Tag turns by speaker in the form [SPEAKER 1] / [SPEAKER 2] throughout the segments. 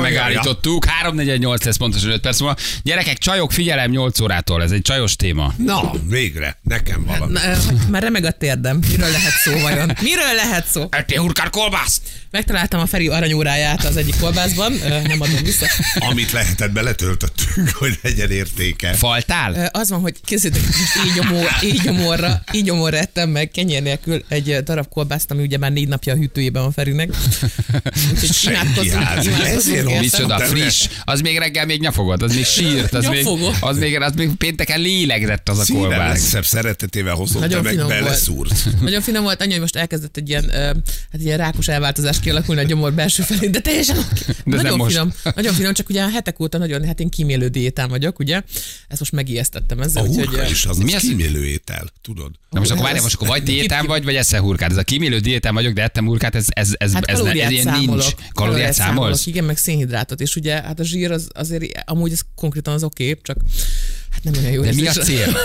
[SPEAKER 1] megállítottuk. 348 lesz pontosan 5 perc múlva. Gyerekek, csajok, figyelem 8 órától. Ez egy csajos téma.
[SPEAKER 2] Na, végre, nekem valami.
[SPEAKER 3] Na, ö, Már remeg a térdem. Miről lehet szó vajon? Miről lehet szó?
[SPEAKER 1] Ettél hurkár kolbászt?
[SPEAKER 3] Megtaláltam a Feri aranyóráját az egyik kolbászban. Ö, Nem adom vissza.
[SPEAKER 2] Amit lehetett, beletöltöttünk, hogy legyen értéke.
[SPEAKER 1] Faltál?
[SPEAKER 3] Ö, Az van, hogy készítek most így, omor, így omorra, így omorra ettem meg kenyér nélkül egy ö, darab kolbászt, ami ugye már négy napja a hűtőjében van Ferinek. Úgyhogy
[SPEAKER 2] Senki
[SPEAKER 3] imádkozunk,
[SPEAKER 2] házi. Ezért
[SPEAKER 3] imádkozunk.
[SPEAKER 2] van
[SPEAKER 3] érte.
[SPEAKER 1] Micsoda,
[SPEAKER 2] Szerintem
[SPEAKER 1] friss. Az még reggel még nyafogott, az még sírt, az még,
[SPEAKER 3] Nyafogott.
[SPEAKER 1] az még, az még pénteken lélegzett az a
[SPEAKER 2] Szívem
[SPEAKER 1] kolbász.
[SPEAKER 2] legszebb szeretetével hozott, te
[SPEAKER 3] Nagyon
[SPEAKER 2] meg
[SPEAKER 3] finom volt.
[SPEAKER 2] beleszúrt.
[SPEAKER 3] Nagyon finom volt, anya, hogy most elkezdett egy ilyen, ö, hát ilyen rákos elváltozás kialakulni a gyomor belső felén, de teljesen oké.
[SPEAKER 1] nem
[SPEAKER 3] nagyon
[SPEAKER 1] most.
[SPEAKER 3] finom, nagyon finom, csak ugye a hetek óta nagyon, hát én kímélő diétán vagyok, ugye? Ezt most megijesztettem
[SPEAKER 2] A
[SPEAKER 3] ezzel,
[SPEAKER 2] hurka
[SPEAKER 3] ö,
[SPEAKER 2] is, az,
[SPEAKER 1] Mi
[SPEAKER 2] az
[SPEAKER 1] az?
[SPEAKER 2] kímélő étel, tudod?
[SPEAKER 1] Na most akkor
[SPEAKER 3] Ez-
[SPEAKER 1] várjál, most akkor vagy diétán vagy, vagy eszel hurkát. Ez a kímélő diétán vagyok, de ettem hurkát, ez, ez, ez,
[SPEAKER 3] Hát
[SPEAKER 1] ez, ne,
[SPEAKER 3] kalóriát
[SPEAKER 1] ez ilyen
[SPEAKER 3] számolok.
[SPEAKER 1] nincs. Kalóriát számolsz?
[SPEAKER 3] Igen, meg szénhidrátot, és ugye hát a zsír az, azért, amúgy ez konkrétan az oké, okay, csak hát nem olyan jó
[SPEAKER 1] De mi a
[SPEAKER 3] érzés.
[SPEAKER 1] cél?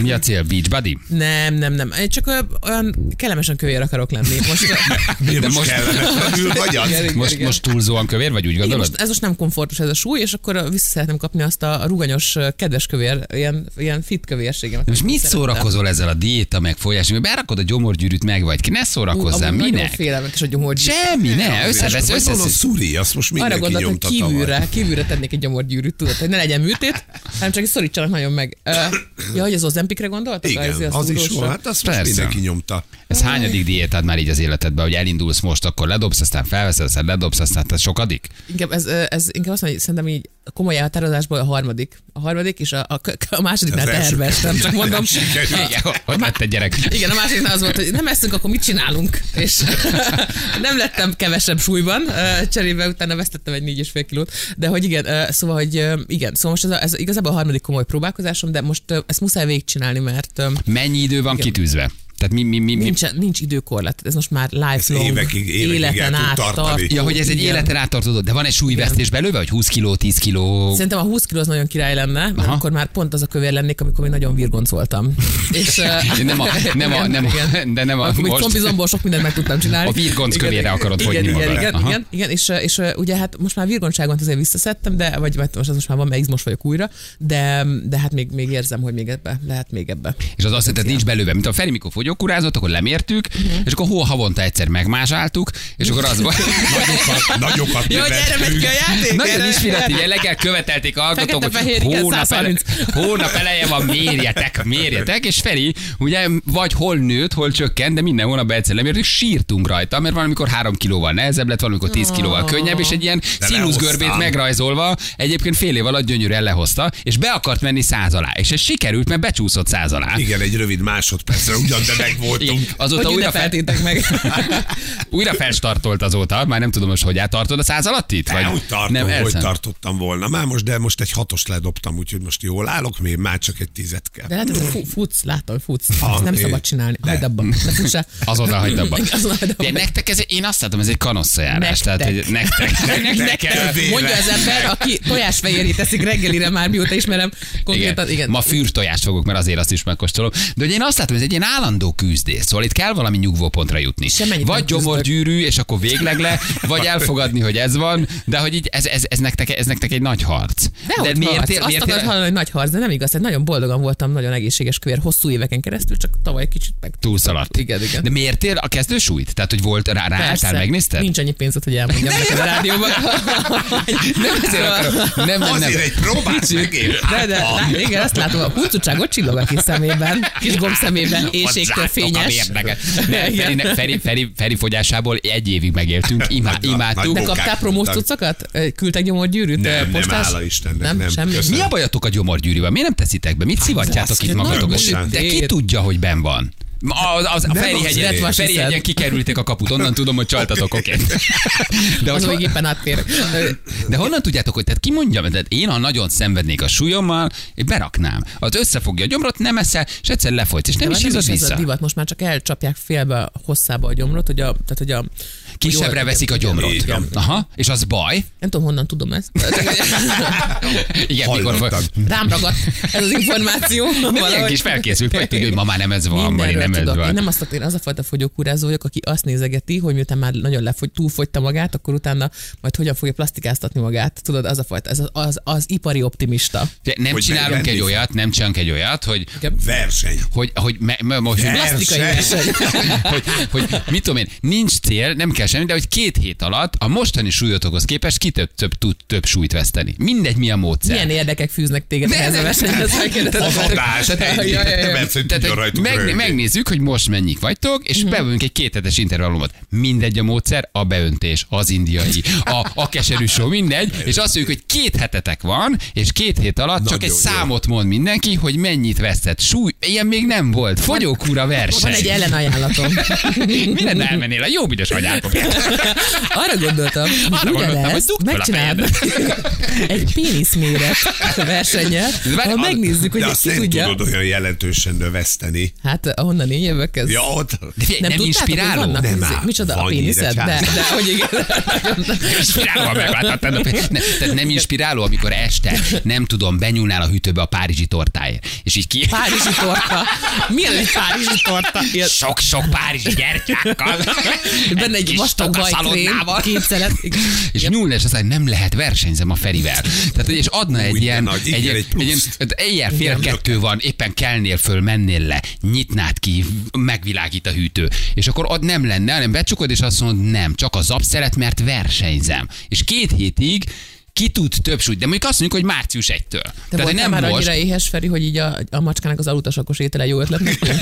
[SPEAKER 1] Mi a cél? Beachbody?
[SPEAKER 3] Nem, nem, nem. Én Csak ö, olyan kellemesen kövér akarok lenni. Most,
[SPEAKER 2] Miért
[SPEAKER 1] De
[SPEAKER 2] most
[SPEAKER 1] most-
[SPEAKER 2] kellemetlenül vagy az?
[SPEAKER 3] Igen,
[SPEAKER 1] Most,
[SPEAKER 3] igen.
[SPEAKER 1] most túlzóan kövér vagy, úgy
[SPEAKER 3] igen,
[SPEAKER 1] gondolod?
[SPEAKER 3] most, ez most nem komfortos ez a súly, és akkor ö, vissza szeretném kapni azt a ruganyos, ö, kedves kövér, ilyen, ilyen fit kövérségemet.
[SPEAKER 1] De most mit
[SPEAKER 3] Szeretem.
[SPEAKER 1] szórakozol ezzel a diéta meg folyás? Mert berakod a gyomorgyűrűt meg vagy ki, ne
[SPEAKER 3] Ú,
[SPEAKER 1] szórakozzál,
[SPEAKER 3] amúgy Nagyon
[SPEAKER 1] minek?
[SPEAKER 3] félelmetes a gyomorgyűrű.
[SPEAKER 1] Semmi, ne, összevesz,
[SPEAKER 2] Vagy valahol
[SPEAKER 1] összevesz.
[SPEAKER 2] szuri, azt most
[SPEAKER 3] Arra
[SPEAKER 2] mindenki
[SPEAKER 3] gondoltam,
[SPEAKER 2] nyomta
[SPEAKER 3] hogy kívülre, kívülre tennék egy gyomorgyűrűt, tudod, hogy ne legyen műtét, hanem csak így szorítsanak nagyon meg. Ö, ja, hogy az Ozempikre gondoltak?
[SPEAKER 2] Igen,
[SPEAKER 3] Azért
[SPEAKER 2] az is
[SPEAKER 3] szúrós.
[SPEAKER 2] van, hát azt most
[SPEAKER 1] Persze.
[SPEAKER 2] mindenki nyomta.
[SPEAKER 1] Ez hányadik diétád már így az életedben, hogy elindulsz most, akkor ledobsz, aztán felveszed, aztán ledobsz, aztán ez sokadik?
[SPEAKER 3] Inkább ez, ö, ez inkább azt mondom, hogy szerintem így a komoly elhatározásból a harmadik. A harmadik és a, a, a másodiknál
[SPEAKER 2] Az első
[SPEAKER 3] teherbe estem, csak mondom.
[SPEAKER 1] Igen, hogy lett egy gyerek?
[SPEAKER 3] Igen, a másodiknál az volt, hogy nem eszünk, akkor mit csinálunk? És nem lettem kevesebb súlyban, ö, cserébe utána vesztettem egy négy és fél kilót. De hogy igen, ö, szóval, hogy ö, igen, szóval most ez, a, ez igazából a harmadik komoly próbálkozásom, de most ö, ezt muszáj végigcsinálni, mert ö,
[SPEAKER 1] Mennyi idő van kitűzve? Tehát mi, mi, mi, mi?
[SPEAKER 3] nincs, nincs időkorlát. Ez most már lifelong,
[SPEAKER 2] évekig- évekig el
[SPEAKER 3] életen
[SPEAKER 2] tud
[SPEAKER 3] át
[SPEAKER 2] tartani.
[SPEAKER 3] tartó.
[SPEAKER 1] Ja, hogy ez egy
[SPEAKER 3] Igen.
[SPEAKER 1] életen áttartod, de van egy súlyvesztés belőle, vagy 20 kiló, 10 kiló?
[SPEAKER 3] Szerintem a 20 kiló az nagyon király lenne, mert
[SPEAKER 1] Aha.
[SPEAKER 3] akkor már pont az a kövér lennék, amikor még nagyon virgonc voltam. És, ö,
[SPEAKER 1] Nem a, nem a,
[SPEAKER 3] igen,
[SPEAKER 1] nem a,
[SPEAKER 3] igen.
[SPEAKER 1] de nem a,
[SPEAKER 3] Akkor még
[SPEAKER 1] most.
[SPEAKER 3] combizomból sok mindent meg tudtam csinálni.
[SPEAKER 1] A virgonc
[SPEAKER 3] Igen,
[SPEAKER 1] kövére
[SPEAKER 3] igen,
[SPEAKER 1] akarod
[SPEAKER 3] igen,
[SPEAKER 1] fogyni
[SPEAKER 3] igen,
[SPEAKER 1] magad.
[SPEAKER 3] igen,
[SPEAKER 1] Aha.
[SPEAKER 3] igen, igen, és, ö, és ö, ugye hát most már virgoncságot azért visszaszedtem, de vagy, vagy most, az most már van, mert izmos vagyok újra, de, de hát még, még érzem, hogy még ebbe, lehet még ebbe.
[SPEAKER 1] És az azt jelenti, hogy nincs belőle. Mint a Feri, mikor fogyókurázott, akkor lemértük,
[SPEAKER 3] Mhm.
[SPEAKER 1] és akkor hol havonta egyszer megmázsáltuk, és akkor az volt.
[SPEAKER 2] Nagyokat, nagyokat
[SPEAKER 3] Jó, hogy erre
[SPEAKER 2] nevettünk.
[SPEAKER 3] megy ki a játék?
[SPEAKER 1] Nagyon
[SPEAKER 3] erre-
[SPEAKER 1] inspiratív jelleggel követelték a hallgatók, hogy
[SPEAKER 3] Fekete-fehér, igen,
[SPEAKER 1] hónap, ele,
[SPEAKER 3] 130.
[SPEAKER 1] hónap eleje van, mérjetek, mérjetek, és Feri ugye vagy hol nőtt, hol csökkent, de minden hónapban egyszer lemértük, sírtunk rajta, mert valamikor 3 kilóval nehezebb lett, valamikor 10 kilóval könnyebb, és egy ilyen
[SPEAKER 2] De
[SPEAKER 1] színuszgörbét
[SPEAKER 2] lehoztam.
[SPEAKER 1] megrajzolva egyébként fél év alatt gyönyörűen lehozta, és be akart menni száz alá, és ez sikerült, mert becsúszott száz alá.
[SPEAKER 2] Igen, egy rövid másodpercre, ugyan, de meg
[SPEAKER 1] Igen,
[SPEAKER 2] voltunk.
[SPEAKER 1] azóta
[SPEAKER 3] Hogy
[SPEAKER 1] újra, fel,
[SPEAKER 3] ünnepeltétek meg.
[SPEAKER 1] újra felstartolt azóta, már nem tudom most, hogy áttartod a száz alatt itt?
[SPEAKER 2] Vagy, úgy tartom, nem, hogy
[SPEAKER 1] Elszem?
[SPEAKER 2] tartottam volna. Már most, de most egy hatost ledobtam, úgyhogy most jól állok, még már csak egy tizet kell.
[SPEAKER 3] De hát ez a fu- futsz, látom, futsz.
[SPEAKER 2] Ah,
[SPEAKER 3] Ezt nem
[SPEAKER 2] oké.
[SPEAKER 3] szabad csinálni. Hagyd abba. Ne fuss el.
[SPEAKER 1] Azonnal hagyd abba.
[SPEAKER 3] Igen, azonnal hagyd abba.
[SPEAKER 1] De nektek ez, én azt látom, ez egy kanosszajárás.
[SPEAKER 3] Nektek.
[SPEAKER 1] Tehát, hogy nektek. nektek, nektek.
[SPEAKER 2] Tövére.
[SPEAKER 3] Mondja az ember, aki tojásfehérjét teszik reggelire már, mióta ismerem konkrétan. Igen.
[SPEAKER 1] Ma fűrtojást fogok, mert azért azt is megkóstolom. De hogy én azt látom, ez egy ilyen állandó küzdés. Szóval itt kell valami nyugvópontra jutni.
[SPEAKER 3] Semennyit
[SPEAKER 1] vagy
[SPEAKER 3] nem küzdök.
[SPEAKER 1] gyomorgyűrű, és akkor végleg le, vagy elfogadni, hogy ez van, de hogy így ez, ez, ez, nektek, ez nektek egy nagy harc.
[SPEAKER 3] Dehogy harc. Azt akarod hallani, hogy nagy harc, de nem igaz, hogy nagyon boldogan voltam, nagyon egészséges kövér hosszú éveken keresztül, csak tavaly kicsit meg
[SPEAKER 1] túlszaladt.
[SPEAKER 3] Igen, igen.
[SPEAKER 1] De miért ér a kezdősúlyt? Tehát, hogy volt rá, ráálltál, megnézted?
[SPEAKER 3] Nincs annyi pénzed, hogy elmondjam neked a rádióban.
[SPEAKER 1] Nem ezért akarom. Nem, nem, nem.
[SPEAKER 2] Azért egy próbát megér.
[SPEAKER 3] De, de, de, igen, azt látom, a kurcucságot csillog a kis szemében, kis gomb szemében, éjségtől
[SPEAKER 1] Ott zártok a
[SPEAKER 3] fényes.
[SPEAKER 1] mérleget. Nem,
[SPEAKER 3] Igen.
[SPEAKER 1] Feri, ne- Feri, Feri, Feri fogyásából egy évig megéltünk, imá,
[SPEAKER 2] Nagy-
[SPEAKER 1] imádtuk.
[SPEAKER 3] De
[SPEAKER 2] nagy-
[SPEAKER 3] kaptál promós cuccokat? Ö, Küldtek gyomorgyűrűt?
[SPEAKER 2] Nem,
[SPEAKER 3] ö,
[SPEAKER 2] nem,
[SPEAKER 3] postás?
[SPEAKER 2] hála Istennek, nem.
[SPEAKER 3] semmi.
[SPEAKER 2] Köszönöm.
[SPEAKER 1] mi a bajatok a gyomorgyűrűvel? Miért nem teszitek be? Mit szivatjátok
[SPEAKER 3] azt
[SPEAKER 1] itt
[SPEAKER 3] nem
[SPEAKER 1] magatok?
[SPEAKER 2] tudom.
[SPEAKER 1] De ki tudja, hogy ben van? Az, az, a
[SPEAKER 2] Nem
[SPEAKER 1] Ferihegyen,
[SPEAKER 2] azért.
[SPEAKER 1] Ferihegyen kikerülték a kaput, onnan tudom, hogy csaltatok, oké. De,
[SPEAKER 3] Az
[SPEAKER 1] hogy,
[SPEAKER 3] még éppen átfér. Ö,
[SPEAKER 1] de honnan tudjátok, hogy tehát kimondjam, tehát én ha nagyon szenvednék a súlyommal, én beraknám. Az összefogja a gyomrot, nem eszel, és egyszer lefolysz, és nem
[SPEAKER 3] De
[SPEAKER 1] is
[SPEAKER 3] már
[SPEAKER 1] izad
[SPEAKER 3] hát ez a
[SPEAKER 1] vissza.
[SPEAKER 3] divat, most már csak elcsapják félbe a hosszába a gyomrot, hogy a, tehát, hogy a
[SPEAKER 1] Kisebbre
[SPEAKER 3] Jól-
[SPEAKER 1] veszik a gyomrot.
[SPEAKER 2] Így van.
[SPEAKER 1] Aha, és az baj.
[SPEAKER 3] Nem tudom, honnan tudom ezt.
[SPEAKER 1] Igen, mikor...
[SPEAKER 2] Hallottam.
[SPEAKER 3] Rám ragadt ez az információ.
[SPEAKER 1] Nem ilyen kis felkészült, vagy tudja, hogy ma már nem ez van, vagy
[SPEAKER 3] Mindenről
[SPEAKER 1] nem ez
[SPEAKER 3] tudok. Én
[SPEAKER 1] van.
[SPEAKER 3] nem azt, én az a fajta fogyókúrázó vagyok, aki azt nézegeti, hogy miután már nagyon lefogy, túlfogyta magát, akkor utána majd hogyan fogja plastikáztatni magát. Tudod, az a fajta, ez az, az, az ipari optimista.
[SPEAKER 1] De Nem
[SPEAKER 2] Hogy
[SPEAKER 1] csinálunk
[SPEAKER 2] megvenni?
[SPEAKER 1] egy olyat, nem csinálunk egy olyat, hogy
[SPEAKER 2] Verseny.
[SPEAKER 1] hogy, hogy me, me, most,
[SPEAKER 3] Plastikai verseny.
[SPEAKER 1] hogy, hogy, mit tudom én, nincs cél, nem kell semmi, de hogy két hét alatt a mostani súlyotokhoz képest ki több, több, tud több súlyt veszteni. Mindegy, mi a módszer.
[SPEAKER 3] Milyen érdekek fűznek téged ehhez a versenyhez? megkérdezem.
[SPEAKER 2] Az adás.
[SPEAKER 3] Ja, ja,
[SPEAKER 2] ennyi.
[SPEAKER 3] ja, ja.
[SPEAKER 2] Nem egyszerűen
[SPEAKER 1] Tehát,
[SPEAKER 2] tudjon
[SPEAKER 1] hogy
[SPEAKER 2] rajtuk
[SPEAKER 1] meg,
[SPEAKER 2] röhögni.
[SPEAKER 1] megnézzük, hogy most mennyik vagytok, és
[SPEAKER 3] Mhm.
[SPEAKER 1] uh-huh. bevonunk egy kéthetes intervallumot. Mindegy a módszer, a beöntés, az indiai, a, a keserű só, mindegy, és azt mondjuk, hogy két hetetek van, és két hét alatt csak
[SPEAKER 2] Nagyon
[SPEAKER 1] egy
[SPEAKER 2] jó.
[SPEAKER 1] számot mond mindenki, hogy mennyit vesztett. Súly, ilyen még nem volt. Fogyókúra verseny.
[SPEAKER 3] Van egy ellenajánlatom.
[SPEAKER 1] Mi lenne elmennél a jó büdös anyákba?
[SPEAKER 3] Arra gondoltam, hogy
[SPEAKER 1] Arra gondoltam, hogy
[SPEAKER 3] ugyanezt
[SPEAKER 1] dugd fel a
[SPEAKER 3] megcsináld egy péniszméret versenyet,
[SPEAKER 1] De várj,
[SPEAKER 3] ahol
[SPEAKER 1] az-
[SPEAKER 3] megnézzük,
[SPEAKER 2] De
[SPEAKER 3] hogy
[SPEAKER 2] azt
[SPEAKER 3] ki
[SPEAKER 2] nem
[SPEAKER 3] tudja.
[SPEAKER 2] tudod olyan jelentősen növeszteni.
[SPEAKER 3] Hát ahonnan én jövök, ez...
[SPEAKER 2] Ja, ott.
[SPEAKER 1] De figyelj, nem, nem
[SPEAKER 3] tudtátok, hogy
[SPEAKER 1] inspiráló?
[SPEAKER 3] vannak
[SPEAKER 2] Nem
[SPEAKER 3] izé-
[SPEAKER 2] áll.
[SPEAKER 3] Micsoda a
[SPEAKER 2] Van
[SPEAKER 3] péniszed? De,
[SPEAKER 2] nyíregyház.
[SPEAKER 3] de hogy igen.
[SPEAKER 1] Inspirálóan megváltottad a pénzt. Ne, tehát nem inspiráló, amikor este, nem tudom, benyúlnál a hűtőbe a párizsi tortáért. És így ki...
[SPEAKER 3] Párizsi torta. Milyen egy párizsi torta? Ilyen,
[SPEAKER 1] Sok-sok párizsi gyertyákkal.
[SPEAKER 3] benne egy
[SPEAKER 1] kis
[SPEAKER 3] vastag
[SPEAKER 1] toka
[SPEAKER 3] bajkrém,
[SPEAKER 1] szalonnával.
[SPEAKER 3] két szelet. igen.
[SPEAKER 1] És nyúlna, és aztán nem lehet versenyzem a Ferivel. Tehát, és adna egy
[SPEAKER 2] Új, de
[SPEAKER 1] ilyen,
[SPEAKER 2] nagy, igen, egy
[SPEAKER 1] ilyen,
[SPEAKER 2] pluszt.
[SPEAKER 1] tehát éjjel fél
[SPEAKER 3] Igen.
[SPEAKER 1] kettő van, éppen kelnél föl, mennél le, nyitnád ki, megvilágít a hűtő. És akkor ott nem lenne, hanem becsukod, és azt mondod, nem, csak az abszeret, mert versenyzem. És két hétig ki tud több súlyt, de mondjuk azt mondjuk, hogy március 1-től.
[SPEAKER 3] Te
[SPEAKER 1] hogy
[SPEAKER 3] voltál
[SPEAKER 1] nem
[SPEAKER 3] már
[SPEAKER 1] most.
[SPEAKER 3] annyira éhes, Feri, hogy így a, a macskának az alutasakos étele jó ötletnek tűnt?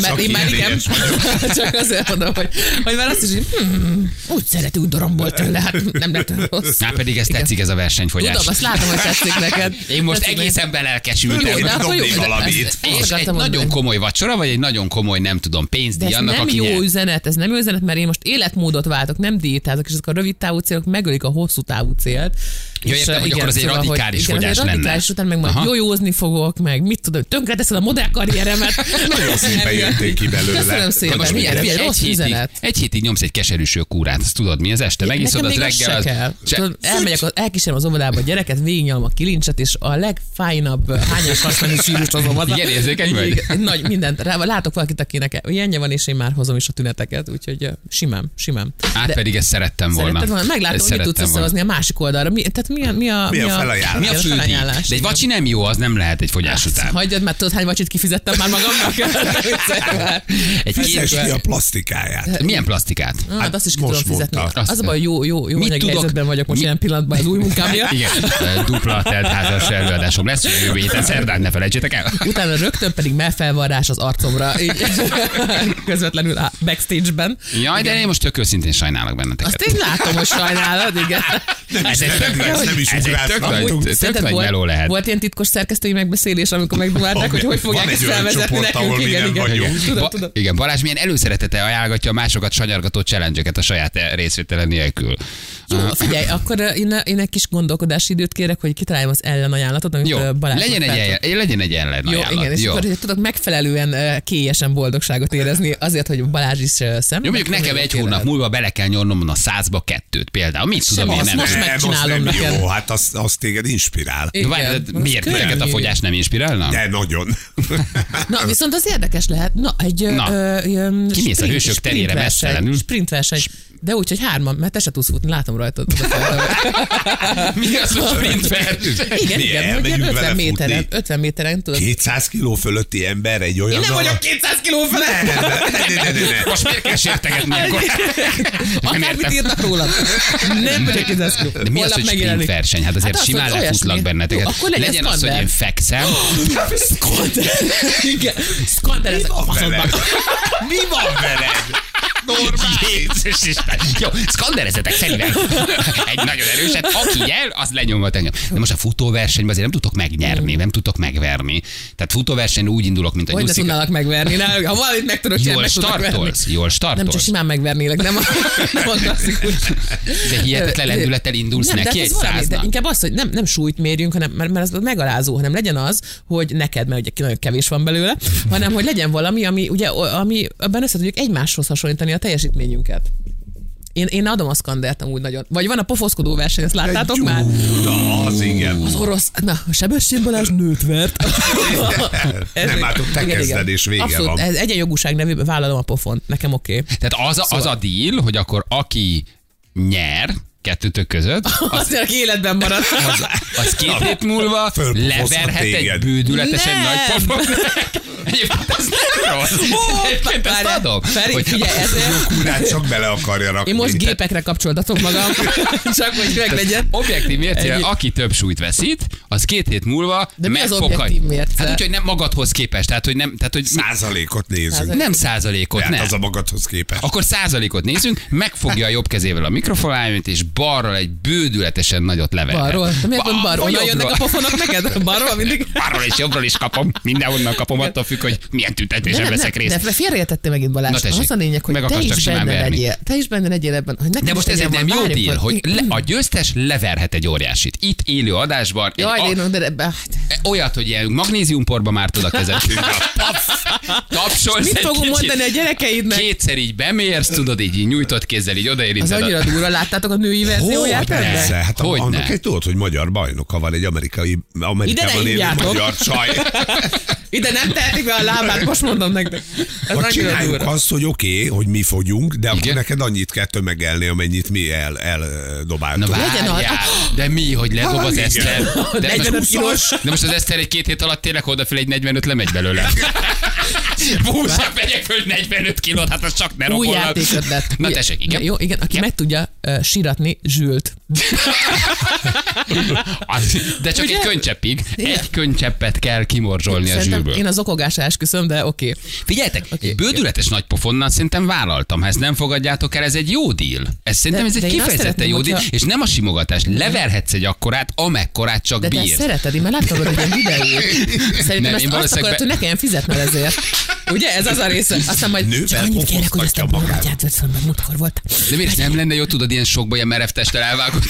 [SPEAKER 3] Mert én már igen,
[SPEAKER 2] éhes vagyok.
[SPEAKER 3] csak azért mondom, hogy, hogy már azt is, hogy hmm, úgy szereti, úgy dorombolt tőle, hát nem lett rossz.
[SPEAKER 1] Na pedig ez tetszik, ez a versenyfogyás.
[SPEAKER 3] Tudom, azt látom, hogy tetszik neked.
[SPEAKER 1] Én most
[SPEAKER 3] Tetszik
[SPEAKER 1] egészen belelkesültem.
[SPEAKER 2] Jó, de
[SPEAKER 3] akkor
[SPEAKER 2] Dobni
[SPEAKER 3] jó, de-
[SPEAKER 2] valamit.
[SPEAKER 3] ezt- ezt
[SPEAKER 1] És egy
[SPEAKER 3] akartam mondani.
[SPEAKER 1] nagyon komoly vacsora, vagy egy nagyon komoly, nem tudom, pénzdi
[SPEAKER 3] De ez
[SPEAKER 1] annak,
[SPEAKER 3] nem
[SPEAKER 1] aki
[SPEAKER 3] jó
[SPEAKER 1] nyer.
[SPEAKER 3] üzenet, ez nem jó üzenet, mert én most életmódot váltok, nem diétázok, és ezek a rövid távú célok megölik a hosszú távú célt.
[SPEAKER 1] Ja,
[SPEAKER 3] és,
[SPEAKER 1] értem,
[SPEAKER 3] eh,
[SPEAKER 1] hogy akkor az egy
[SPEAKER 3] hogy-
[SPEAKER 1] radikális
[SPEAKER 3] igen, az egy
[SPEAKER 1] fogyás lenne.
[SPEAKER 3] radikális után meg majd
[SPEAKER 1] Aha.
[SPEAKER 3] jójózni fogok, meg mit tudom, tönkreteszed a modellkarrieremet.
[SPEAKER 2] Nagyon szépen jöttél ki belőle.
[SPEAKER 3] Köszönöm szépen.
[SPEAKER 1] Most
[SPEAKER 2] Nagyon
[SPEAKER 3] milyen,
[SPEAKER 1] figyelj,
[SPEAKER 3] milyen
[SPEAKER 1] egy
[SPEAKER 3] rossz
[SPEAKER 1] hétig,
[SPEAKER 3] üzenet.
[SPEAKER 1] egy hétig nyomsz egy keserűső kúrát, azt tudod mi, az este megiszod,
[SPEAKER 3] Nekem
[SPEAKER 1] az
[SPEAKER 3] még az
[SPEAKER 1] reggel.
[SPEAKER 3] se
[SPEAKER 1] az-
[SPEAKER 3] kell.
[SPEAKER 1] Se-
[SPEAKER 3] Tudod, elmegyek, az- elkísérem az óvodába a gyereket, végignyalom a kilincset, és a legfájnabb eh, hányas hasmenő sírust hozom haza.
[SPEAKER 1] Igen, érzékeny vagy?
[SPEAKER 3] Igen, Nagy, mindent. Rá, látok valakit, akinek ilyenje van, és én már hozom is a tüneteket, úgyhogy eh, simán, simán.
[SPEAKER 1] Hát pedig ezt szerettem volna.
[SPEAKER 3] Szeretted volna? Meglátom,
[SPEAKER 1] Ezt
[SPEAKER 3] hogy mit tudsz
[SPEAKER 1] szerettem volna.
[SPEAKER 3] összehozni a másik oldalra. Mi, tehát mi a, mi a,
[SPEAKER 2] Mi a felajánlás?
[SPEAKER 1] Mi a fődíj?
[SPEAKER 3] felajánlás? Hát,
[SPEAKER 1] De egy vacsi nem jó, az nem lehet egy fogyás után.
[SPEAKER 3] Hagyjad, mert tudod, hány vacsit kifizettem már magamnak.
[SPEAKER 2] Hát
[SPEAKER 1] Egy
[SPEAKER 2] Fizes ki
[SPEAKER 1] két,
[SPEAKER 2] a plastikáját.
[SPEAKER 1] milyen plastikát?
[SPEAKER 3] Hát azt is ki
[SPEAKER 2] most
[SPEAKER 3] tudom fizetni.
[SPEAKER 2] mondta.
[SPEAKER 1] Azt-
[SPEAKER 3] Az a baj, jó, jó, jó
[SPEAKER 1] Mit
[SPEAKER 3] anyagi
[SPEAKER 1] tudok-
[SPEAKER 3] helyzetben vagyok most
[SPEAKER 1] mi-
[SPEAKER 3] jelen pillanatban az új munkám miatt.
[SPEAKER 1] Igen, dupla teltházas előadásom lesz, jövő héten szerdán, ne felejtsétek el.
[SPEAKER 3] Utána rögtön pedig melfelvarrás az arcomra, így közvetlenül a backstage-ben.
[SPEAKER 1] Jaj, de én most tök őszintén sajnálok benneteket.
[SPEAKER 3] Azt én látom, hogy sajnálod, igen. Hát
[SPEAKER 1] Ez egy
[SPEAKER 2] nem,
[SPEAKER 1] tök
[SPEAKER 2] nem,
[SPEAKER 1] nagy-
[SPEAKER 2] nem is
[SPEAKER 1] ez egy
[SPEAKER 2] ugrálsz,
[SPEAKER 1] tök
[SPEAKER 2] nem
[SPEAKER 1] nagy-
[SPEAKER 2] tudunk.
[SPEAKER 1] tök
[SPEAKER 3] Szerinted
[SPEAKER 1] nagy
[SPEAKER 3] volt-
[SPEAKER 1] meló lehet.
[SPEAKER 3] Volt ilyen titkos szerkesztői megbeszélés, amikor megdumálták, hogy hogy fogják
[SPEAKER 2] van egy
[SPEAKER 3] ezt
[SPEAKER 2] olyan
[SPEAKER 3] felvezetni
[SPEAKER 2] csoport,
[SPEAKER 3] nekünk.
[SPEAKER 2] ahol mi
[SPEAKER 3] Igen,
[SPEAKER 2] nem
[SPEAKER 3] igen, igen.
[SPEAKER 2] vagyunk.
[SPEAKER 3] Tudom,
[SPEAKER 1] Ba-
[SPEAKER 3] tudom.
[SPEAKER 1] Igen, Balázs milyen előszeretete ajánlgatja a másokat sanyargató challenge a saját részvétele nélkül.
[SPEAKER 3] Jó, figyelj, akkor ö, én, én egy kis gondolkodási időt kérek, hogy kitaláljam az ellenajánlatot, amit
[SPEAKER 1] Jó,
[SPEAKER 3] ö, Balázs
[SPEAKER 1] legyen egy,
[SPEAKER 3] fel tud-
[SPEAKER 1] el, legyen egy ellen
[SPEAKER 3] Jó, igen, és akkor hogy tudok megfelelően ö, kélyesen boldogságot érezni, azért, hogy Balázs is szemben.
[SPEAKER 1] Jó, mondjuk nekem egy hónap múlva bele kell nyomnom a százba kettőt például. Mit tudom én
[SPEAKER 3] az
[SPEAKER 1] nem?
[SPEAKER 3] most
[SPEAKER 1] tudom.
[SPEAKER 2] Nem, az
[SPEAKER 3] megcsinálom
[SPEAKER 2] nem
[SPEAKER 3] neked.
[SPEAKER 2] Jó, hát az, az téged inspirál.
[SPEAKER 1] De várj, de
[SPEAKER 3] Igen, az
[SPEAKER 1] miért
[SPEAKER 3] könnyű.
[SPEAKER 1] neked a fogyás nem inspirálna?
[SPEAKER 2] De nagyon.
[SPEAKER 3] Na, viszont az érdekes lehet. Na, egy ö,
[SPEAKER 1] Na.
[SPEAKER 3] ö, ö,
[SPEAKER 1] Kimész a
[SPEAKER 3] sprint-
[SPEAKER 1] hősök
[SPEAKER 3] sprint
[SPEAKER 1] terére
[SPEAKER 3] verseny,
[SPEAKER 1] messzelenül.
[SPEAKER 3] Sprint verseny. De úgy, hogy hárman, mert te se tudsz futni, látom rajtad.
[SPEAKER 1] Mi az a sprint verseny?
[SPEAKER 3] igen,
[SPEAKER 2] Mi,
[SPEAKER 3] igen, hogy
[SPEAKER 2] elmegyünk
[SPEAKER 3] ilyen
[SPEAKER 2] vele
[SPEAKER 3] 50
[SPEAKER 2] futni?
[SPEAKER 3] méteren, 50 méteren tudod.
[SPEAKER 2] 200 kiló fölötti ember egy olyan...
[SPEAKER 3] Én nem vagyok 200 kiló felett.
[SPEAKER 2] Ne, ne, ne, ne, ne.
[SPEAKER 1] Most miért kell sértegetni akkor? Nem
[SPEAKER 3] Akármit
[SPEAKER 1] értem.
[SPEAKER 3] írnak rólad. Nem vagyok 200 kiló.
[SPEAKER 1] De mi az,
[SPEAKER 3] Holnap
[SPEAKER 1] hogy sprint
[SPEAKER 3] megjelenik.
[SPEAKER 1] verseny? Hát azért
[SPEAKER 3] Hát az,
[SPEAKER 1] simán
[SPEAKER 3] hogy
[SPEAKER 1] lefutlak
[SPEAKER 3] olyasmi.
[SPEAKER 1] benneteket.
[SPEAKER 3] Jó, akkor legyen
[SPEAKER 1] legyen az, hogy
[SPEAKER 3] szkander.
[SPEAKER 1] én fekszem.
[SPEAKER 3] Skander. Igen. Skander ez a faszodnak.
[SPEAKER 2] Mi van veled?
[SPEAKER 1] Jézus Isten. Jó, szkanderezetek szerintem. Egy nagyon erőset. Aki nyel, az lenyomhat engem. De most a futóversenyben azért nem tudtok megnyerni, nem tudtok megverni. Tehát futóversenyen úgy indulok, mint a
[SPEAKER 3] Hogy ne
[SPEAKER 1] nyuszika.
[SPEAKER 3] tudnának megverni. Na, Ha valamit meg tudok csinálni,
[SPEAKER 1] Jól
[SPEAKER 3] meg tudnak verni.
[SPEAKER 1] startolsz, jól
[SPEAKER 3] Nem csak
[SPEAKER 1] startolsz.
[SPEAKER 3] simán megvernélek, nem a, nem a klasszikus.
[SPEAKER 1] De hihetetlen
[SPEAKER 3] Ö, ö,
[SPEAKER 1] lendülettel indulsz
[SPEAKER 3] nem, de
[SPEAKER 1] neki
[SPEAKER 3] hát
[SPEAKER 1] egy
[SPEAKER 3] az valami, de
[SPEAKER 1] száznak.
[SPEAKER 3] Inkább az, hogy nem, nem súlyt mérjünk, hanem, mert, mert az megalázó, hanem legyen az, hogy neked, mert ugye ki nagyon kevés van belőle, hanem hogy legyen valami, ami, ugye, o- ami, abban össze tudjuk egymáshoz hasonlítani a teljesítményünket. Én, én adom a szkandert amúgy nagyon. Vagy van a pofoszkodó verseny, ezt láttátok már?
[SPEAKER 2] Na, az igen.
[SPEAKER 3] Az orosz, na, a Sebestyén Balázs nőt vert.
[SPEAKER 2] Nem, hát ott te
[SPEAKER 3] Igen, igen.
[SPEAKER 2] kezded, és vége
[SPEAKER 3] Abszolút,
[SPEAKER 2] van.
[SPEAKER 3] ez egyenjogúság nevében vállalom a pofont. Nekem oké. Okay.
[SPEAKER 1] Tehát az, szóval. az a deal, hogy akkor aki nyer kettőtök között, az,
[SPEAKER 3] Azért, aki életben marad.
[SPEAKER 1] az, az két hét múlva
[SPEAKER 2] Fölpofozhat
[SPEAKER 1] leverhet egy
[SPEAKER 2] téged.
[SPEAKER 1] bődületesen
[SPEAKER 3] Nem.
[SPEAKER 1] nagy pofon. Egyébként ez nem rossz.
[SPEAKER 3] Hoppá,
[SPEAKER 1] Egyébként ezt
[SPEAKER 3] várjál.
[SPEAKER 1] adom.
[SPEAKER 3] Feri,
[SPEAKER 1] hogy-
[SPEAKER 3] figyelj, ezért...
[SPEAKER 2] Kurát csak bele akarja rakni.
[SPEAKER 3] Én most gépekre kapcsoltatom magam, csak hogy meg legyen.
[SPEAKER 1] Objektív mércére,
[SPEAKER 3] Egy-
[SPEAKER 1] aki több súlyt veszít, az két hét múlva
[SPEAKER 3] De mi az
[SPEAKER 1] megfoghat-
[SPEAKER 3] objektív mérce?
[SPEAKER 1] Hát úgy, hogy nem magadhoz képest, tehát hogy nem, tehát hogy
[SPEAKER 2] Százalékot nézünk.
[SPEAKER 3] Százalék.
[SPEAKER 1] nem százalékot,
[SPEAKER 2] Hát
[SPEAKER 1] nem.
[SPEAKER 2] az a magadhoz képest.
[SPEAKER 1] Akkor százalékot nézzünk, megfogja a jobb kezével a mikrofonáljót, és balról egy bődületesen nagyot level.
[SPEAKER 3] Balról? Te miért pont balról? Onnan jönnek a pofonok neked? Balról mindig?
[SPEAKER 1] Balról és jobbról is kapom, mindenhonnan kapom, attól függ, hogy milyen tüntetésen veszek részt.
[SPEAKER 3] De félreértettél megint
[SPEAKER 1] Na
[SPEAKER 3] Balázs.
[SPEAKER 1] tessék.
[SPEAKER 3] az a lényeg, hogy
[SPEAKER 1] Meg
[SPEAKER 3] te
[SPEAKER 1] akartak
[SPEAKER 3] is
[SPEAKER 1] simán
[SPEAKER 3] benne
[SPEAKER 1] verni.
[SPEAKER 3] legyél. Te is benne legyél ebben. Hogy neked
[SPEAKER 1] De
[SPEAKER 3] is
[SPEAKER 1] most ez
[SPEAKER 3] legyen
[SPEAKER 1] egy nem
[SPEAKER 3] van.
[SPEAKER 1] jó
[SPEAKER 3] Várjunk,
[SPEAKER 1] deal, hogy le, a győztes leverhet egy óriásit. Itt élő adásban. egy
[SPEAKER 3] Jaj,
[SPEAKER 1] a- e,
[SPEAKER 3] de én de ebbe...
[SPEAKER 1] olyat, hogy ilyen magnéziumporba mártod a kezed. Paf! Tapsolsz
[SPEAKER 3] Mit
[SPEAKER 1] egy
[SPEAKER 3] fogunk
[SPEAKER 1] kicsit.
[SPEAKER 3] mondani a gyerekeidnek?
[SPEAKER 1] Kétszer így bemérsz, tudod, így, így nyújtott kézzel, így
[SPEAKER 3] Az
[SPEAKER 1] odaérinted.
[SPEAKER 3] annyira
[SPEAKER 1] a-
[SPEAKER 3] durva. Láttátok a női verzióját
[SPEAKER 1] Hogyne.
[SPEAKER 3] ennek?
[SPEAKER 2] Persze, hát a,
[SPEAKER 1] Hogyne.
[SPEAKER 2] annak egy tudod, hogy magyar bajnoka van egy amerikai,
[SPEAKER 3] Ide
[SPEAKER 2] Amerikában
[SPEAKER 3] ne
[SPEAKER 2] élő
[SPEAKER 3] hívjátok.
[SPEAKER 2] magyar csaj.
[SPEAKER 3] Ide nem tehetik be a lábát, most mondom nektek. Ez
[SPEAKER 2] Vagy
[SPEAKER 3] annyira
[SPEAKER 2] csináljuk
[SPEAKER 3] durva.
[SPEAKER 2] azt, hogy oké, okay, hogy mi fogyunk, de akkor
[SPEAKER 1] Igen.
[SPEAKER 2] neked annyit kell tömegelni, amennyit mi el,
[SPEAKER 1] Na
[SPEAKER 2] eldobáltunk.
[SPEAKER 3] Legyen az.
[SPEAKER 1] várjál, de mi, hogy ledob
[SPEAKER 2] Ah,
[SPEAKER 1] az
[SPEAKER 2] igen.
[SPEAKER 1] Eszter? De,
[SPEAKER 3] 45
[SPEAKER 1] most-
[SPEAKER 3] kilós.
[SPEAKER 1] de most az Eszter egy két hét alatt tényleg odafél egy 45 lemegy belőle. Búzsa, megyek föl 45 kilót, hát az csak ne
[SPEAKER 3] Új
[SPEAKER 1] robolnak.
[SPEAKER 3] játékötlet.
[SPEAKER 1] Na tessék, igen.
[SPEAKER 3] Jó, igen, aki meg tudja ö, síratni, zsült.
[SPEAKER 1] Az- De csak
[SPEAKER 3] Ugye?
[SPEAKER 1] egy könycseppig.
[SPEAKER 3] Igen.
[SPEAKER 1] Egy könycseppet kell kimorzsolni a
[SPEAKER 3] Szerintem
[SPEAKER 1] zsűrből.
[SPEAKER 3] én az okogásra esküszöm, de oké. Okay.
[SPEAKER 1] Figyeljetek,
[SPEAKER 3] Oké,
[SPEAKER 1] okay, bődületes nagy pofonnal szerintem vállaltam. Ha ezt nem fogadjátok el, ez egy jó deal. Ez szerintem
[SPEAKER 3] De-
[SPEAKER 1] ez egy
[SPEAKER 3] de én azt
[SPEAKER 1] kifejezetten
[SPEAKER 3] szeretném,
[SPEAKER 1] jó deal,
[SPEAKER 3] hogyha-
[SPEAKER 1] és nem a simogatás. Leverhetsz egy akkorát, amekkorát csak
[SPEAKER 3] De te ezt
[SPEAKER 1] bírsz.
[SPEAKER 3] szereted, én már láttam hogy egy videót. Szerintem
[SPEAKER 1] Nem,
[SPEAKER 3] nem,
[SPEAKER 1] én
[SPEAKER 3] ezt
[SPEAKER 1] valószínűleg
[SPEAKER 3] azt akarod,
[SPEAKER 1] be-
[SPEAKER 3] hogy ne kelljen fizetned ezért. Ugye? Ez az a része. Aztán majd
[SPEAKER 2] Nővel
[SPEAKER 3] csak annyit kérek, hogy ezt
[SPEAKER 2] pofoztatja
[SPEAKER 3] a
[SPEAKER 2] magát.
[SPEAKER 3] borgatját vedd fel, mert múltkor volt.
[SPEAKER 1] De miért nem lenne jó, tudod, ilyen sokba ilyen merev testtel elvágódni?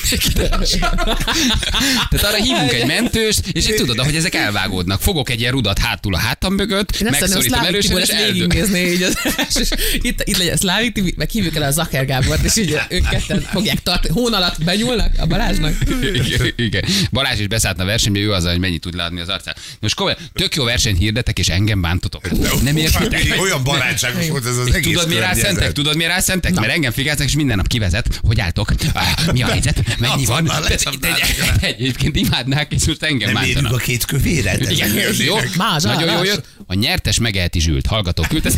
[SPEAKER 1] Tehát arra hívunk egy mentőst, és így tudod, ahogy ezek elvágódnak. Fogok egy ilyen rudat hátul a hátam mögött,
[SPEAKER 3] Én azt hiszem, hogy
[SPEAKER 1] megszorítom
[SPEAKER 3] a Szlávik
[SPEAKER 1] erősen,
[SPEAKER 3] Tibor
[SPEAKER 1] és
[SPEAKER 3] ezt
[SPEAKER 1] eldög.
[SPEAKER 3] végignézné, így az, és itt, itt legyen Szlávik Tibor, meg hívjuk el a Zaker Gábort, és így ők ketten fogják tartani, hón alatt benyúlnak a Balázsnak.
[SPEAKER 1] Igen, Igen. Balázs is beszállt a versenybe, ő az, hogy mennyit tud leadni az arcát. Most komolyan, tök jó versenyt hirdetek, és engem bántotok. Nem értitek?
[SPEAKER 2] hát Olyan barátságos volt ez az
[SPEAKER 1] És
[SPEAKER 2] egész
[SPEAKER 1] tudod, mi
[SPEAKER 2] környezet.
[SPEAKER 1] rászentek? Tudod, mi rászentek? Mert engem figyeltek, és minden nap kivezet, hogy álltok, Ah, mi a helyzet, mennyi
[SPEAKER 2] Azt
[SPEAKER 1] van.
[SPEAKER 2] már
[SPEAKER 1] Tehát
[SPEAKER 2] lecsapnál,
[SPEAKER 1] egy- egy- Egyébként imádnák, és most engem
[SPEAKER 2] szóval Nem érjük
[SPEAKER 1] bántanak.
[SPEAKER 2] a két kövéret. Ez
[SPEAKER 1] Igen,
[SPEAKER 2] nem jönnének.
[SPEAKER 1] jó,
[SPEAKER 3] Más,
[SPEAKER 1] nagyon jó
[SPEAKER 3] más.
[SPEAKER 1] jött. A nyertes megeheti zsült. Hallgató küldte.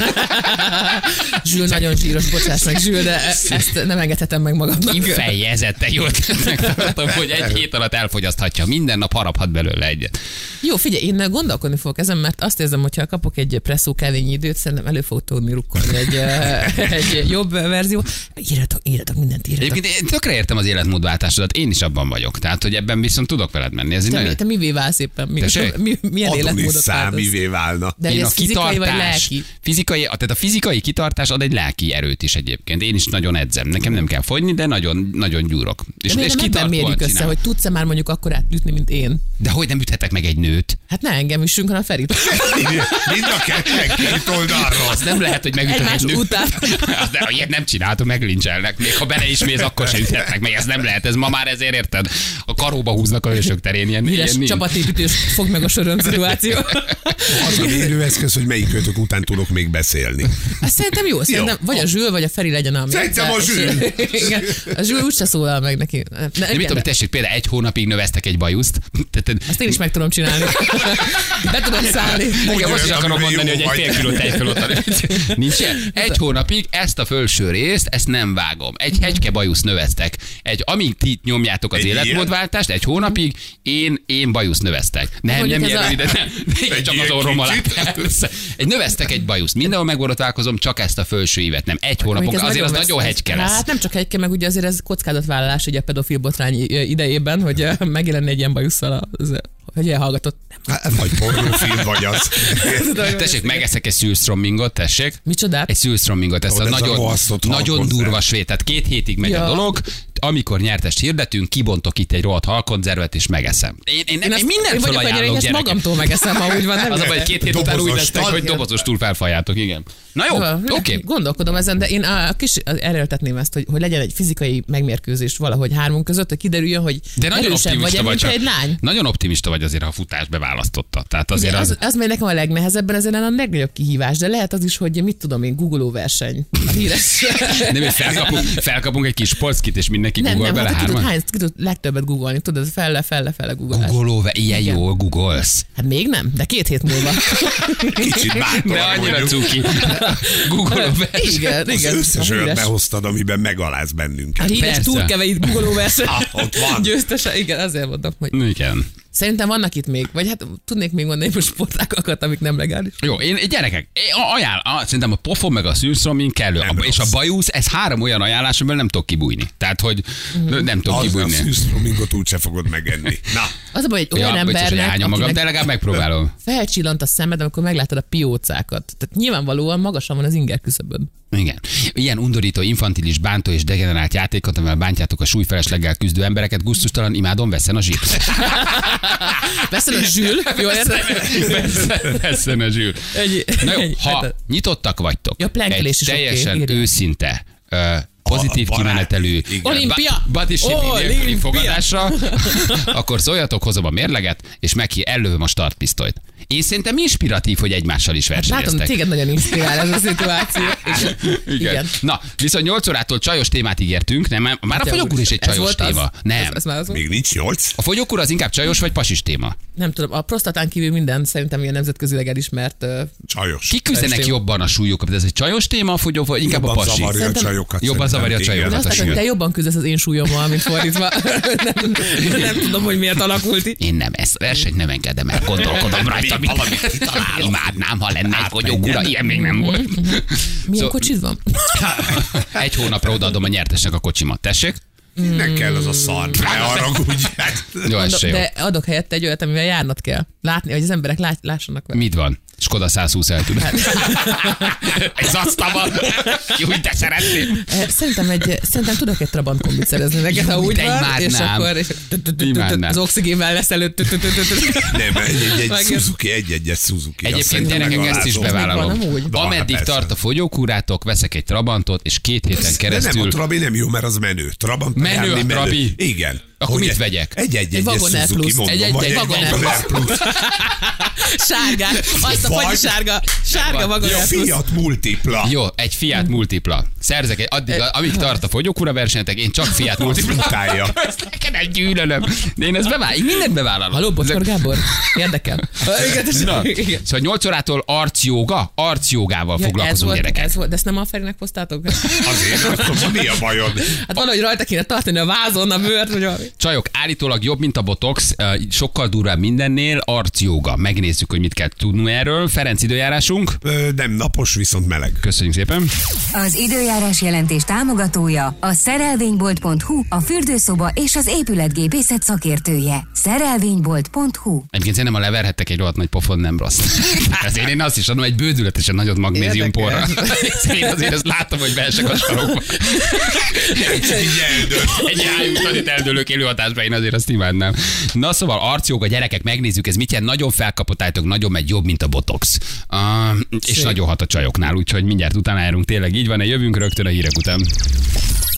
[SPEAKER 3] Zsül nagyon zsíros, bocsáss meg Zsül, de e- ezt nem engedhetem meg magamnak.
[SPEAKER 1] Kifejezetten jó ötletnek tartom, hogy egy hét alatt elfogyaszthatja. Minden nap haraphat belőle egyet.
[SPEAKER 3] Jó, figyelj, én gondolkodni fogok ezen, mert azt érzem, hogy ha kapok egy presszó kevény időt, szerintem elő fog tudni rukkolni egy, eh, egy jobb verzió. Írjatok, írjatok, mindent írjatok.
[SPEAKER 1] Egyébként én tökre értem az életmódváltásodat, én is abban vagyok. Tehát, hogy ebben viszont tudok veled menni. Ez egy
[SPEAKER 3] Te, mi-
[SPEAKER 1] nagyon...
[SPEAKER 3] te mivé válsz éppen? Mi,
[SPEAKER 1] Tessék?
[SPEAKER 3] mi, milyen
[SPEAKER 2] Adonis
[SPEAKER 3] életmódot váltasz?
[SPEAKER 2] számivé válna.
[SPEAKER 3] De hogy
[SPEAKER 1] Én
[SPEAKER 3] ez
[SPEAKER 1] a
[SPEAKER 3] fizikai vagy
[SPEAKER 1] kitartás,
[SPEAKER 3] lelki?
[SPEAKER 1] fizikai, a- tehát a fizikai kitartás ad egy lelki erőt is egyébként. Én is nagyon edzem. Nekem nem kell fogyni, de nagyon, nagyon gyúrok. És,
[SPEAKER 3] De miért
[SPEAKER 1] és
[SPEAKER 3] nem ebben
[SPEAKER 1] kitartóan
[SPEAKER 3] mérjük össze,
[SPEAKER 1] csinálom.
[SPEAKER 3] hogy tudsz-e már mondjuk akkorát ütni, mint én?
[SPEAKER 1] De hogy nem üthetek meg egy nőt?
[SPEAKER 3] Hát ne engem üssünk, hanem Ferit.
[SPEAKER 2] Igen, Mind a kettő, két oldalról.
[SPEAKER 1] Az nem lehet, hogy megütöm
[SPEAKER 3] Egymás
[SPEAKER 1] egy nőt.
[SPEAKER 3] után.
[SPEAKER 1] Az de, ilyet nem csináltam, meglincselnek. Még ha bele is mész, akkor sem üthetnek meg. Ez nem lehet, ez ma már ezért érted. A karóba húznak a hősök terén. Ilyen, ilyen
[SPEAKER 3] Híres
[SPEAKER 1] nincs.
[SPEAKER 3] csapatépítős, fogd meg a söröm szituáció.
[SPEAKER 2] Az a mérőeszköz, hogy melyik kötök után tudok még beszélni.
[SPEAKER 3] Hát szerintem jó, szerintem vagy a Zsül, vagy a Feri legyen a
[SPEAKER 2] Szerintem a Zsül.
[SPEAKER 3] Igen, a Zsül úgyse szólal meg neki. Ne,
[SPEAKER 1] De mit
[SPEAKER 3] igen,
[SPEAKER 1] tudom, tessék, például egy hónapig növesztek egy bajuszt. Te- te-
[SPEAKER 3] Ezt én is meg tudom csinálni. Be tudom szállni.
[SPEAKER 1] Igen, most is
[SPEAKER 2] Olyan,
[SPEAKER 1] akarom
[SPEAKER 2] amiben
[SPEAKER 1] mondani,
[SPEAKER 2] jó
[SPEAKER 1] hogy egy
[SPEAKER 2] vagy.
[SPEAKER 1] fél kiló tejföl ott van. Nincs ilyen. Egy hónapig ezt a fölső részt, ezt nem vágom. Egy hegyke bajusz növesztek. Egy, amíg ti nyomjátok az
[SPEAKER 2] Egy ilyen?
[SPEAKER 1] életmódváltást, egy hónapig én, én bajusz növesztek. Nem,
[SPEAKER 3] Mondjuk
[SPEAKER 1] nem
[SPEAKER 3] ez
[SPEAKER 1] ilyen
[SPEAKER 3] a-
[SPEAKER 1] ide, nem. Igen,
[SPEAKER 2] Egy
[SPEAKER 1] csak az
[SPEAKER 2] ilyen
[SPEAKER 1] orrom alá.
[SPEAKER 2] kicsit.
[SPEAKER 1] Persze. Egy növesztek egy bajuszt. Mindenhol megborotálkozom, csak ezt a felső évet nem. Egy hónapig.
[SPEAKER 3] Mondjuk ez
[SPEAKER 1] Azért az
[SPEAKER 3] vesz-
[SPEAKER 1] nagyon hegyke lesz.
[SPEAKER 3] Hát nem csak hegyke, meg ugye azért ez kockázatvállalás ugye a pedofil botrány ö, idejében, hogy ö, megjelenne egy ilyen bajusszal az ö, hogy elhallgatott. Nem
[SPEAKER 2] Hát, Vagy pornófilm vagy az.
[SPEAKER 3] tudom, hogy-
[SPEAKER 1] Tessék, megeszek egy szűrstrommingot, tessék.
[SPEAKER 3] Micsodát?
[SPEAKER 1] Egy szűrstrommingot, ezt
[SPEAKER 2] Ó,
[SPEAKER 1] a
[SPEAKER 2] de ez a
[SPEAKER 1] nagyon,
[SPEAKER 2] masszot
[SPEAKER 1] nagyon
[SPEAKER 2] halkozzál.
[SPEAKER 1] durva svét. Tehát két hétig megy a
[SPEAKER 3] Ja.
[SPEAKER 1] dolog, amikor nyertest hirdetünk, kibontok itt egy rohadt halkonzervet, és megeszem. Én, én, én, én mindent
[SPEAKER 3] én vagyok annyira,
[SPEAKER 1] felajánlok
[SPEAKER 3] hogy ezt
[SPEAKER 1] gyerekek.
[SPEAKER 3] magamtól megeszem, ha úgy van. Nem
[SPEAKER 1] Az a baj, hogy két hét után úgy
[SPEAKER 2] Dobozos
[SPEAKER 1] lesztek, hogy
[SPEAKER 2] talpja.
[SPEAKER 1] dobozos túl felfajáltok, igen. Na jó,
[SPEAKER 3] Aha,
[SPEAKER 1] oké. Okay.
[SPEAKER 3] Szóval, Gondolkodom ezen, de én a kis erőltetném ezt, hogy, hogy legyen egy fizikai megmérkőzés valahogy hármunk között, hogy kiderüljön, hogy
[SPEAKER 1] De nagyon
[SPEAKER 3] erősebb
[SPEAKER 1] optimista vagy,
[SPEAKER 3] vagy,
[SPEAKER 1] hát
[SPEAKER 3] mint
[SPEAKER 1] csak-
[SPEAKER 3] egy lány.
[SPEAKER 1] Nagyon optimista vagy azért, ha a futást beválasztotta. Tehát azért
[SPEAKER 3] Ugye,
[SPEAKER 1] az,
[SPEAKER 3] az, az még nekem a legnehezebben, ezen a legnagyobb kihívás, de lehet az is, hogy mit tudom én, googoló verseny. A Híres.
[SPEAKER 1] Nem, hogy felkapunk, felkapunk egy kis polszkit, és mindenki
[SPEAKER 3] nem,
[SPEAKER 1] Google
[SPEAKER 3] nem,
[SPEAKER 1] bele
[SPEAKER 3] hát ki tudod,
[SPEAKER 1] hárman.
[SPEAKER 3] hány, ki tudod legtöbbet googolni, tudod, felle, felle, felle googolás.
[SPEAKER 1] Googolóve, ilyen
[SPEAKER 3] Igen.
[SPEAKER 1] jól googolsz.
[SPEAKER 3] Hát még nem, de két hét múlva.
[SPEAKER 2] Kicsit bátor.
[SPEAKER 1] De annyira cuki. Googoló
[SPEAKER 3] igen,
[SPEAKER 2] Az
[SPEAKER 3] igen.
[SPEAKER 2] összes
[SPEAKER 3] A
[SPEAKER 2] olyat
[SPEAKER 3] híres-
[SPEAKER 2] behoztad, amiben megaláz
[SPEAKER 3] A
[SPEAKER 2] bennünket.
[SPEAKER 3] híres
[SPEAKER 1] Persze.
[SPEAKER 3] túrkeveit googoló verseny.
[SPEAKER 2] Ah, ott van.
[SPEAKER 3] Győztese, igen, azért mondom, hogy
[SPEAKER 1] Igen.
[SPEAKER 3] Szerintem vannak itt még, vagy hát tudnék még mondani most sportágakat, amik nem legális.
[SPEAKER 1] Jó, én gyerekek, én a- ajánl, a, szerintem a pofon meg a szűrszommin kellő,
[SPEAKER 2] Nem
[SPEAKER 1] a, és a
[SPEAKER 2] rossz.
[SPEAKER 1] bajusz, ez három olyan ajánlás, amiből nem tudok kibújni. Tehát, hogy
[SPEAKER 3] Mhm.
[SPEAKER 1] mm. nem tudok
[SPEAKER 2] Az a
[SPEAKER 1] kibújni.
[SPEAKER 2] szűzpromingot úgyse fogod megenni. Na,
[SPEAKER 3] Az a baj, hogy olyan
[SPEAKER 1] Ja,
[SPEAKER 3] ja,
[SPEAKER 1] bocsás, hogy
[SPEAKER 3] embernek,
[SPEAKER 1] elhányom magam, de
[SPEAKER 3] akinek
[SPEAKER 1] legalább megpróbálom.
[SPEAKER 3] felcsillant a szemed, amikor meglátod a piócákat. Tehát nyilvánvalóan magasan van az inger küszöbön.
[SPEAKER 1] Igen. Ilyen undorító, infantilis, bántó és degenerált játékot, amivel bántjátok a súlyfelesleggel küzdő embereket, gusztustalan imádom, veszen a zsír.
[SPEAKER 3] Veszed a zsűl, jó érted?
[SPEAKER 1] Veszen- veszen a zsír.
[SPEAKER 3] Egy,
[SPEAKER 1] Na jó,
[SPEAKER 3] egy-
[SPEAKER 1] ha
[SPEAKER 3] hát-
[SPEAKER 1] nyitottak vagytok,
[SPEAKER 3] Ja,
[SPEAKER 1] egy
[SPEAKER 3] plankelés is oké,
[SPEAKER 1] teljesen
[SPEAKER 3] írja.
[SPEAKER 1] őszinte, ö, pozitív
[SPEAKER 2] A- a barát-
[SPEAKER 1] kimenetelű
[SPEAKER 2] igen.
[SPEAKER 3] Olimpia!
[SPEAKER 1] ba- Batisi
[SPEAKER 3] Olimpia!
[SPEAKER 1] nélküli fogadásra, akkor szóljatok, hozom a mérleget, és meg ellövöm a startpisztolyt. Én szerintem inspiratív, hogy egymással is
[SPEAKER 3] Hát Látom,
[SPEAKER 1] versenyeztek.
[SPEAKER 3] téged nagyon inspirál ez a szituáció. Igen. Igen.
[SPEAKER 1] Na, viszont 8 órától csajos témát ígértünk, nem? Már a
[SPEAKER 3] Te
[SPEAKER 1] fogyókúr is egy
[SPEAKER 3] úristen, ez
[SPEAKER 1] csajos
[SPEAKER 3] volt az?
[SPEAKER 1] téma. Nem.
[SPEAKER 3] Ez, ez már az volt?
[SPEAKER 2] még nincs nyolc?
[SPEAKER 1] A fogyókúr az inkább csajos vagy pasis téma.
[SPEAKER 3] Nem tudom, a prostatán kívül minden szerintem ilyen nemzetközileg elismert. ö,
[SPEAKER 2] Csajos.
[SPEAKER 1] Kik küzdenek
[SPEAKER 3] Csajos téma.
[SPEAKER 1] jobban a súlyukat? De ez egy csajos téma, a fogyó, vagy inkább a
[SPEAKER 2] Jobban
[SPEAKER 1] pasi?
[SPEAKER 2] zavarja a
[SPEAKER 3] Szerintem-
[SPEAKER 2] csajokat.
[SPEAKER 1] Jobban zavarja a
[SPEAKER 2] szerintem.
[SPEAKER 1] csajokat.
[SPEAKER 3] De
[SPEAKER 2] Igen.
[SPEAKER 3] azt látom, hogy
[SPEAKER 1] sűrű.
[SPEAKER 3] te jobban küzdesz az én súlyommal, mint fordítva. nem, nem, tudom, hogy miért alakult így.
[SPEAKER 1] Én nem, ezt versenyt nem engedem el, gondolkodom rajta,
[SPEAKER 2] Még
[SPEAKER 1] mit
[SPEAKER 2] valamit kitalálok. Hát
[SPEAKER 1] Imádnám, ha lenne egy fogyókúra, ilyen még nem volt.
[SPEAKER 3] Milyen
[SPEAKER 1] Szó-
[SPEAKER 3] kocsid van?
[SPEAKER 2] Hát-
[SPEAKER 1] Egy hónapra odaadom a nyertesnek a kocsimat, tessék?
[SPEAKER 2] Ne kell az a szar. Ne haragudj. hát.
[SPEAKER 1] Jó, ez se
[SPEAKER 3] Mondom,
[SPEAKER 1] jó.
[SPEAKER 3] de adok helyette egy olyat, amivel járnod kell. Látni, hogy az emberek lát, lássanak vele.
[SPEAKER 1] Mit van? Skoda 120 el
[SPEAKER 3] Hát-
[SPEAKER 1] tud. Ez azt a van. Jó, hogy te szeretnél.
[SPEAKER 3] Eh, Szerintem, egy, szerintem tudok egy Trabant kombit szerezni neked, ha
[SPEAKER 1] Jó,
[SPEAKER 3] úgy
[SPEAKER 1] de
[SPEAKER 3] van, és
[SPEAKER 1] imádnám.
[SPEAKER 3] akkor és
[SPEAKER 1] Imádnám.
[SPEAKER 3] az oxigénvel lesz előtt.
[SPEAKER 2] Nem, egy, egy, egy
[SPEAKER 3] Meg-
[SPEAKER 2] Suzuki, egy-egyes Suzuki. azt
[SPEAKER 1] Egyébként
[SPEAKER 2] szerintem
[SPEAKER 1] gyerekek ezt is
[SPEAKER 2] megalázó.
[SPEAKER 1] bevállalom.
[SPEAKER 3] Megvan amúgy?
[SPEAKER 1] Ameddig
[SPEAKER 2] Na, hát persze.
[SPEAKER 1] tart a fogyókúrátok, veszek egy Trabantot, és két héten
[SPEAKER 2] De nem,
[SPEAKER 1] keresztül
[SPEAKER 2] a Trabi nem jó, mert az menő. Trabant
[SPEAKER 1] Menő a Trabi.
[SPEAKER 2] Igen.
[SPEAKER 1] Akkor
[SPEAKER 2] Hogy
[SPEAKER 1] mit
[SPEAKER 2] egy-
[SPEAKER 1] vegyek?
[SPEAKER 2] Egy egy
[SPEAKER 3] Egy
[SPEAKER 2] egy
[SPEAKER 3] Wagoner
[SPEAKER 2] Suzuki,
[SPEAKER 3] Plus.
[SPEAKER 2] mondom,
[SPEAKER 1] Egy- egy-
[SPEAKER 2] vagy
[SPEAKER 1] egy
[SPEAKER 2] egy
[SPEAKER 1] Wagoner
[SPEAKER 2] Wagoner Plus.
[SPEAKER 3] Sárgát, azt a
[SPEAKER 2] Vagy-
[SPEAKER 3] fagyi sárga, sárga maga
[SPEAKER 2] Jó,
[SPEAKER 3] lesz.
[SPEAKER 2] Fiat Multipla.
[SPEAKER 1] Jó, egy Fiat Multipla. Szerzek egy, addig, amíg tart a fogyókúra versenyetek, én csak Fiat
[SPEAKER 2] Azt
[SPEAKER 1] Multipla.
[SPEAKER 2] utálja.
[SPEAKER 1] Ezt neked egy gyűlölöm. De én ezt bevállalom. Én mindent bevállalom.
[SPEAKER 3] Haló, Bocskor Gábor? Érdekel.
[SPEAKER 1] Na,
[SPEAKER 3] Ah, Igen.
[SPEAKER 1] szóval 8 órától arcjoga, arcjogával
[SPEAKER 3] ez
[SPEAKER 1] foglalkozunk
[SPEAKER 3] volt,
[SPEAKER 1] gyerekek.
[SPEAKER 3] ez volt, de ezt nem a Ferinek hoztátok?
[SPEAKER 2] Azért, azt mondom, mi a bajod?
[SPEAKER 3] Hát valahogy rajta kéne tartani a vázon, a bőrt, vagy valami.
[SPEAKER 1] Csajok, állítólag jobb, mint a botox, eh, sokkal durvább mindennél, arcjoga. Megnézzük, hogy mit kell tudnunk erről. Ferenc időjárásunk.
[SPEAKER 2] Ö, Nem napos, viszont meleg.
[SPEAKER 1] Köszönjük szépen.
[SPEAKER 4] Az időjárás jelentés támogatója a szerelvénybolt.hu, a fürdőszoba és az épületgépészet szakértője. Szerelvénybolt.hu
[SPEAKER 1] Egyébként szerintem, ha leverhettek egy rohadt nagy pofon, nem rossz. Azért én azt is adom, egy bődületesen nagyot magnézium porra. Én azért azt látom, hogy beesek a sarokba.
[SPEAKER 2] Így eldőlt.
[SPEAKER 1] Egy hájútani eldőlök élőhatásban, én azért azt imádnám. Na szóval arcjog a gyerekek, megnézzük, ez mit jelent. Nagyon felkapotáltok, nagyon megy jobb, mint a botox. Uh, és
[SPEAKER 3] Szép.
[SPEAKER 1] nagyon hat a csajoknál, újhogy mindjárt utána járunk. Tényleg így van, jövünk rögtön a hírek után.